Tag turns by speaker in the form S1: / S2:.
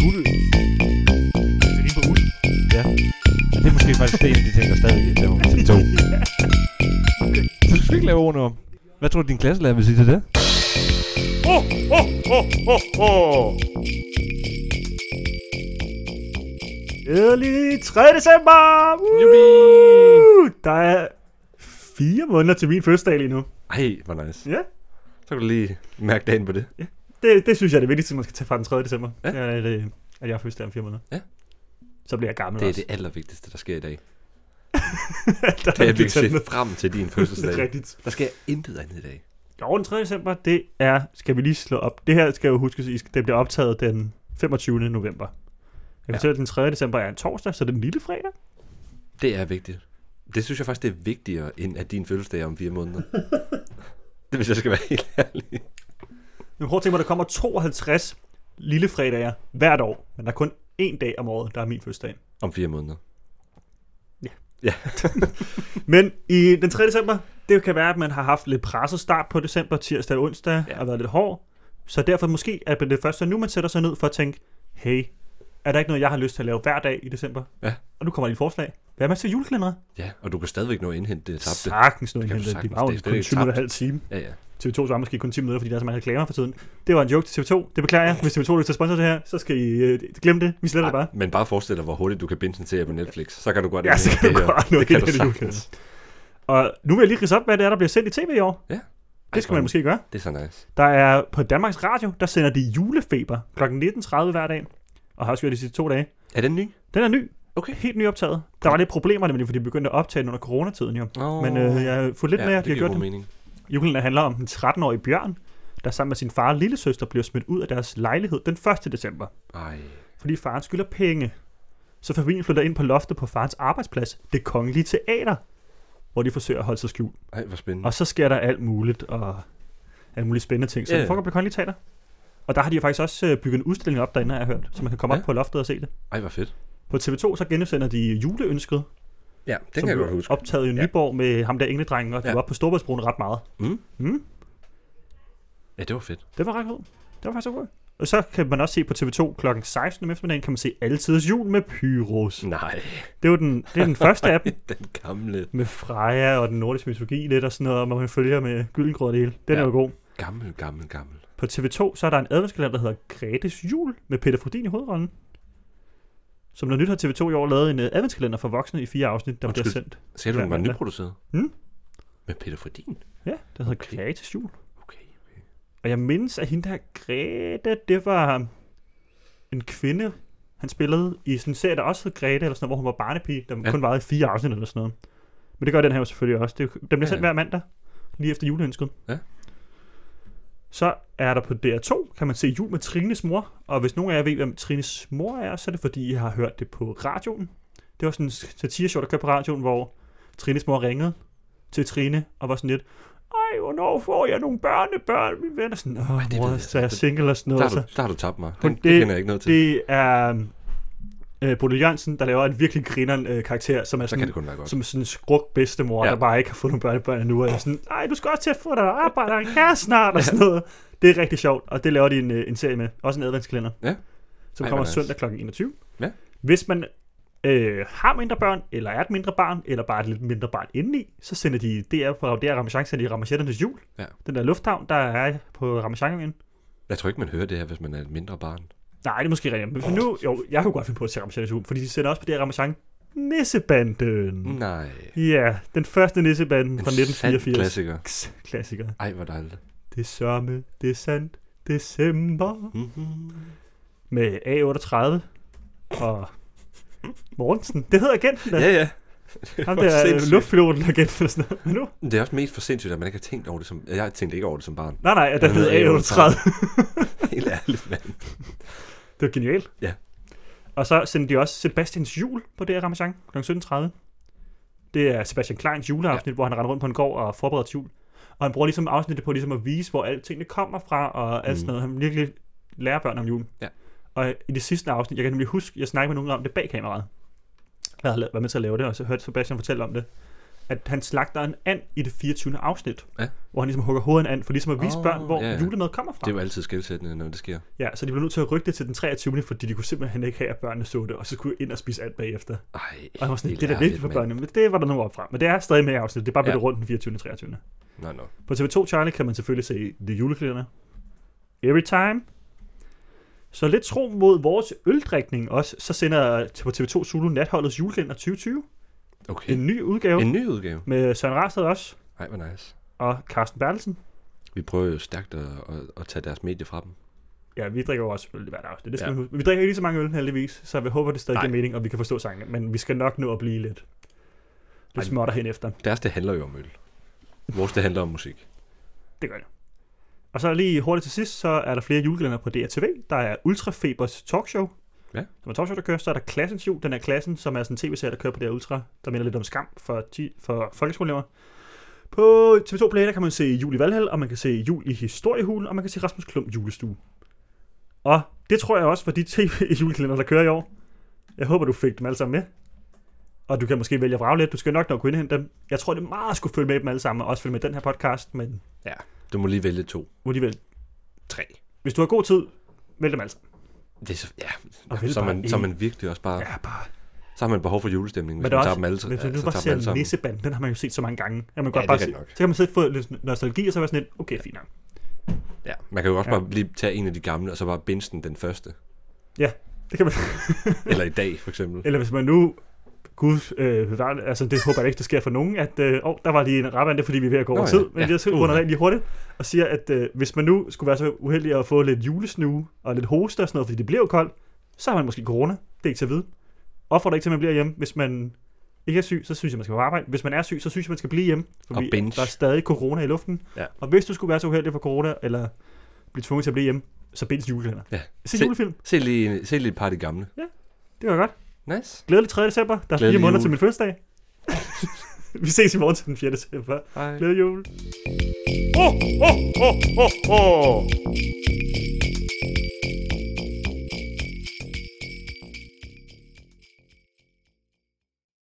S1: guld.
S2: Det er lige på uld.
S1: Og det er måske faktisk det, en af de ting, der stadig er på til to. Så du skal ikke lave ordene om. Hvad tror du, din klasselærer vil sige til det?
S2: Glædelig 3. december! Woo!
S1: Jubi!
S2: Der er fire måneder til min fødselsdag lige nu.
S3: Ej, hvor nice.
S2: Ja.
S3: Så kan du lige mærke dagen på det.
S2: Det, det synes jeg er det vigtigste, man skal tage fra den 3. december.
S3: Ja.
S2: Ja. Det er, at, øh, at jeg har fødselsdag om fire måneder.
S3: Ja.
S2: Så bliver jeg gammel
S3: Det er
S2: også.
S3: det allervigtigste, der sker i dag.
S2: der
S3: Det er, at vi
S2: ikke
S3: kan se
S2: talt med.
S3: frem til din
S2: Det er
S3: fødselsdag.
S2: rigtigt.
S3: Der sker intet andet i dag.
S2: Jo, den 3. december, det er, skal vi lige slå op. Det her skal jo huskes, I skal- det bliver optaget den 25. november. Jeg kan
S3: Ja.
S2: ja. fortælle, at den 3. december er en torsdag, så det er den lille fredag.
S3: Det er vigtigt. Det synes jeg faktisk, det er vigtigere, end at din fødselsdag er om fire måneder. det hvis jeg skal være helt ærlig.
S2: Men prøv at tænke mig, der kommer 52 lille fredager hvert år, men der er kun én dag om året, der er min fødselsdag.
S3: Om fire måneder.
S2: Men i den 3. december, det kan være, at man har haft lidt presset start på december, tirsdag og onsdag,
S3: Ja.
S2: ja. og været lidt hård. Så derfor måske er det først nu, man sætter sig ned for at tænke, hey, er der ikke noget, jeg har lyst til at lave hver dag i december?
S3: Ja.
S2: Og nu kommer lige et forslag. Hvad med til juleklændere?
S3: Ja, og du kan stadigvæk nå at indhente det tabte.
S2: Sagtens nu
S3: Det kan du
S2: indhentet. De
S3: sagtens.
S2: var jo
S3: Det er slet
S2: kun
S3: ikke
S2: 20 minutter og
S3: tabt.
S2: halv time.
S3: Ja, ja.
S2: TV2 var måske kun 10 minutter, fordi der er så mange reklamer for tiden. Det var en joke til TV2. Det beklager jeg. Hvis TV2 har lyst til at sponsor det her, så skal I øh, glemme det. Vi sletter det bare.
S3: Men bare forestil dig, hvor hurtigt du kan binde den til på Netflix. Så kan du godt
S2: Ja, så
S3: indhente
S2: kan du
S3: her.
S2: godt nå
S3: Det kan du
S2: indhente
S3: sagtens.
S2: Og nu vil jeg lige ridse op, hvad det er, der bliver sendt i tv i år.
S3: Ja. Ej,
S2: Det skal man
S3: hvor-
S2: måske gøre.
S3: Det er så nice.
S2: Der er på Danmarks Radio, der sender de julefeber kl. 19.30 hver dag. Og har også gjort de sidste to dage.
S3: Er den ny?
S2: Den er ny.
S3: Okay.
S2: Helt nyoptaget. Der var lidt problemer nemlig, fordi de begyndte at optage den under coronatiden jo.
S3: Oh.
S2: Men øh, jeg har fulgt lidt
S3: ja,
S2: med, at
S3: det
S2: de har
S3: giver
S2: gjort
S3: god
S2: det.
S3: mening.
S2: Julen handler om den 13-årige Bjørn, der sammen med sin far og lillesøster bliver smidt ud af deres lejlighed den 1. december.
S3: Ej.
S2: Fordi faren skylder penge. Så familien flytter ind på loftet på farens arbejdsplads, det kongelige teater, hvor de forsøger at holde sig skjult.
S3: Ej, hvor spændende.
S2: Og så sker der alt muligt, og alt muligt spændende ting. Så
S3: Ja,
S2: yeah.
S3: ja.
S2: det foregår på Kongelige Teater. Og der har de jo faktisk også øh, bygget en udstilling op derinde, har jeg hørt, så man kan komme
S3: Ja.
S2: op på loftet og se det.
S3: Ej, hvor fedt.
S2: På TV2 så genudsender de juleønsket,
S3: Ja, den
S2: som
S3: kan jeg
S2: blev
S3: godt huske.
S2: optaget i
S3: Ja.
S2: Nyborg med ham der engledrengen, og de
S3: Ja.
S2: var oppe på Storbritannien ret meget.
S3: Mm.
S2: Mm.
S3: Ja, det var fedt.
S2: Det var ret godt. Det var faktisk godt. Og så kan man også se på TV2 kl. 16 om eftermiddagen, kan man se Altidets Jul med Pyros.
S3: Nej,
S2: Det, var den, det er den første af dem,
S3: den gamle,
S2: med Freja og den nordiske mytologi lidt og sådan noget, og man følger med gyldengrød og det hele. Den
S3: Ja.
S2: ja. er jo god.
S3: gammel, gammel, gammel.
S2: På TV2, så er der en adventskalender, der hedder Gretes Jul, med Peter Frodin i hovedrollen. Som noget nyt har TV2 i år lavet en øh, adventskalender for voksne i fire afsnit, der
S3: Undskyld.
S2: bliver sendt.
S3: Sagde du,
S2: Ja,
S3: den var
S2: men da.
S3: nyproduceret?
S2: Mm.
S3: Med Peter Fredin?
S2: Ja, den hedder
S3: Okay.
S2: okay. Gretes Jul.
S3: Okay. okay.
S2: Og jeg mindes, at hende der Grete, det var en kvinde, han spillede i sådan en serie, der også hed Grete, eller sådan noget, hvor hun var barnepige, der
S3: Ja.
S2: ja. kun varede i fire afsnit eller sådan noget. Men det gør den her jo selvfølgelig også. Det, den bliver
S3: Ja,
S2: sendt
S3: ja.
S2: hver mandag, lige efter juleønsket.
S3: Ja.
S2: Så er der på DR2, kan man se jul med Trines mor. Og hvis nogen af jer ved, hvem Trines mor er, så er det fordi, I har hørt det på radioen. Det var sådan en satireshow, der kørte på radioen, hvor Trines mor ringede til Trine og var sådan lidt, ej, hvornår får jeg nogle børnebørn, min ven? Og sådan, åh,
S3: det ved
S2: mor,
S3: jeg
S2: så er jeg
S3: ikke.
S2: single og sådan
S3: Der,
S2: noget.
S3: har du,
S2: Så.
S3: der har du tabt mig. Den,
S2: Hun-
S3: det, det kender jeg ikke noget til. Det,
S2: Det er øhm, øh, Bodil Jørgensen, der laver en virkelig grineren øh, karakter, som er
S3: så kan
S2: sådan,
S3: det kun være godt.
S2: som sådan en skruk bedstemor,
S3: Ja.
S2: ja. der bare ikke har fået nogle børnebørn endnu. Og er sådan, nej, du skal også til at få dig et arbejde og en kæreste snart, og sådan noget. Det er rigtig sjovt, og det laver de en, øh, en serie med. Også en adventskalender.
S3: Ja.
S2: Som
S3: Ej, hvor
S2: kommer
S3: nice.
S2: søndag kl. 21.
S3: Ja.
S2: Hvis man øh, har mindre børn, eller er et mindre barn, eller bare et lidt mindre barn indeni, så sender de DR på DR Ramachan, sender de Ramachetternes jul.
S3: Ja.
S2: Den der lufthavn, der er på Ramachanøen.
S3: Jeg tror ikke, man hører det her, hvis man er et mindre barn.
S2: Nej, det er måske rigtigt. Men hvis man nu, jo, jeg kunne godt finde på at se Ramachetternes jul, fordi de sender også på DR Ramachan Nissebanden. Mm.
S3: Nej.
S2: Ja, den første nissebanden
S3: En
S2: fra
S3: sand
S2: 1984.
S3: klassiker.
S2: X klassiker.
S3: Ej, hvor dejligt.
S2: Det sørme, det er sandt, december.
S3: Mm-hmm.
S2: Med A38 og Mortensen. Det hedder agenten, da.
S3: Ja, ja.
S2: Ham
S3: hvor
S2: der
S3: sindssygt.
S2: er luftpiloten der agent eller sådan noget. Men nu?
S3: Det er også mest for sindssygt, at man ikke har tænkt over det som... Jeg tænkte ikke over det som barn.
S2: Nej, nej, den
S3: Den
S2: hedder
S3: hedder
S2: A38.
S3: Helt ærligt, mand.
S2: Det var genialt.
S3: Ja.
S2: Og så sendte de også Sebastians jul på det her Ramachan kl. 17.30. Det er Sebastian Kleins juleafsnit, ja. hvor han render rundt på en gård og forbereder til jul. Og han bruger ligesom afsnittet på ligesom at vise, hvor alt tingene kommer fra og alt
S3: Mm.
S2: sådan noget. Han virkelig lærer børn om julen.
S3: Ja.
S2: Og i det sidste afsnit, jeg kan nemlig huske, jeg snakkede med nogen om det bag kameraet. Jeg havde la- været med til at lave det, og så hørte Sebastian fortælle om det. at han slagter en and i det 24. afsnit.
S3: Ja.
S2: Hvor han ligesom hugger hovedet af en and, for ligesom at vise
S3: Åh,
S2: oh, børn, hvor
S3: ja, ja.
S2: julemad kommer fra.
S3: Det er jo altid skældsættende, når det sker.
S2: Ja, så de blev nødt til at rykke det til den 23. fordi de kunne simpelthen ikke have, at børnene så det, og så skulle de ind og spise alt bagefter.
S3: Ej,
S2: Og jeg var sådan,
S3: helt
S2: det er da
S3: ærligt,
S2: vigtigt for
S3: mand.
S2: børnene, men det var der nogen op fra. Men det er stadig med i afsnittet, det er bare blevet
S3: Ja.
S2: ja. rundt den 24. og 23.
S3: Nå, nå.
S2: På TV2 Charlie kan man selvfølgelig se The Julekalender. Every time. Så lidt tro mod vores øldrikning også, så sender på TV2 Zulu Natholdets julekalender 2020
S3: Okay. En,
S2: en ny udgave en.
S3: en ny udgave.
S2: med Søren Rastad også
S3: Ej, hvor nice.
S2: og Carsten Bertelsen.
S3: Vi prøver jo stærkt at, at, at tage deres medie fra dem.
S2: Ja, vi drikker jo også øl hver aften. Det skal
S3: Ja.
S2: ja. man huske. Men Vi drikker ikke lige så mange øl heldigvis, så vi håber, det stadig
S3: Nej.
S2: giver mening, og vi kan forstå sangene. Men vi skal nok nå at blive lidt,
S3: Ej.
S2: lidt småtter hen efter.
S3: Deres, det handler jo om øl. Vores, det handler om musik.
S2: Det gør det. Og så lige hurtigt til sidst, så er der flere julekalender på DRTV. Der er Ultrafebers talkshow.
S3: Ja.
S2: Som er talkshow, der kører. Så er der Klassens Jul. Den er klassen, som er sådan en tv-serie, der kører på DR Ultra. Der minder lidt om skam for, ti- for folkeskoleelever. På TV2 Play, der kan man se Jul i Valhall, og man kan se Jul i Historiehulen, og man kan se Rasmus Klump julestue. Og det tror jeg også for de tv-julekalender, der kører i år. Jeg håber, du fik dem alle sammen med. Og du kan måske vælge at vrage lidt. Du skal nok nok kunne indhente dem. Jeg tror, det er meget at skulle følge med dem alle sammen, og også følge med den her podcast, men
S3: Ja. Du må lige vælge to.
S2: må de vælge.
S3: Tre.
S2: Hvis du har god tid, vælg dem altså.
S3: Det er så, ja.
S2: Og vælg
S3: Så er
S2: bare
S3: man, så er
S2: en.
S3: man virkelig også bare...
S2: Ja, bare.
S3: Så har man behov for julestemning, hvis
S2: Men
S3: man
S2: der er
S3: tager
S2: også,
S3: dem alle,
S2: hvis man nu
S3: altså,
S2: bare
S3: tager dem alle
S2: ser
S3: sammen.
S2: Nissebanden, den har man jo set så mange gange. Ja, man kan
S3: Ja, det
S2: ja,
S3: er
S2: bare
S3: rigtig
S2: se,
S3: nok.
S2: så kan man sidde og få lidt nostalgi, og så være sådan lidt, okay, fint nok.
S3: Ja, man kan jo også
S2: Ja.
S3: bare lige tage en af de gamle, og så bare binge den den første.
S2: Det kan man,
S3: Eller i dag, for eksempel.
S2: eller hvis man nu, gud, øh, bevare det, altså det håber jeg ikke, der sker for nogen, at øh, åh, der var lige en raband, det er fordi, vi er ved at gå
S3: Nå
S2: over
S3: ja,
S2: tid, men
S3: ja.
S2: jeg skal
S3: Uh.
S2: runde rent lige hurtigt, og siger, at øh, hvis man nu skulle være så uheldig at få lidt julesnue og lidt hoste og sådan noget, fordi det bliver jo koldt, så har man måske corona, det er ikke til at vide. Opfordrer ikke til, at man bliver hjemme, hvis man ikke er syg, så synes jeg, man skal på arbejde. Hvis man er syg, så synes jeg, man skal blive hjemme, fordi
S3: binge.
S2: der er stadig corona i luften.
S3: Ja.
S2: Og hvis du skulle være så uheldig for corona, eller blive tvunget til at blive hjemme, så bindes julekalender.
S3: Ja.
S2: Se,
S3: Se-
S2: julefilm,
S3: Se lige, se lige et par af de gamle.
S2: det var godt.
S3: Nice.
S2: Glædelig 3. december. Der er
S3: Glædelig
S2: fire måneder
S3: jul.
S2: til min fødselsdag. Vi ses i morgen til den 4. december.
S3: Hej.
S2: Glædelig jul.
S1: Ho, ho, ho, ho, ho.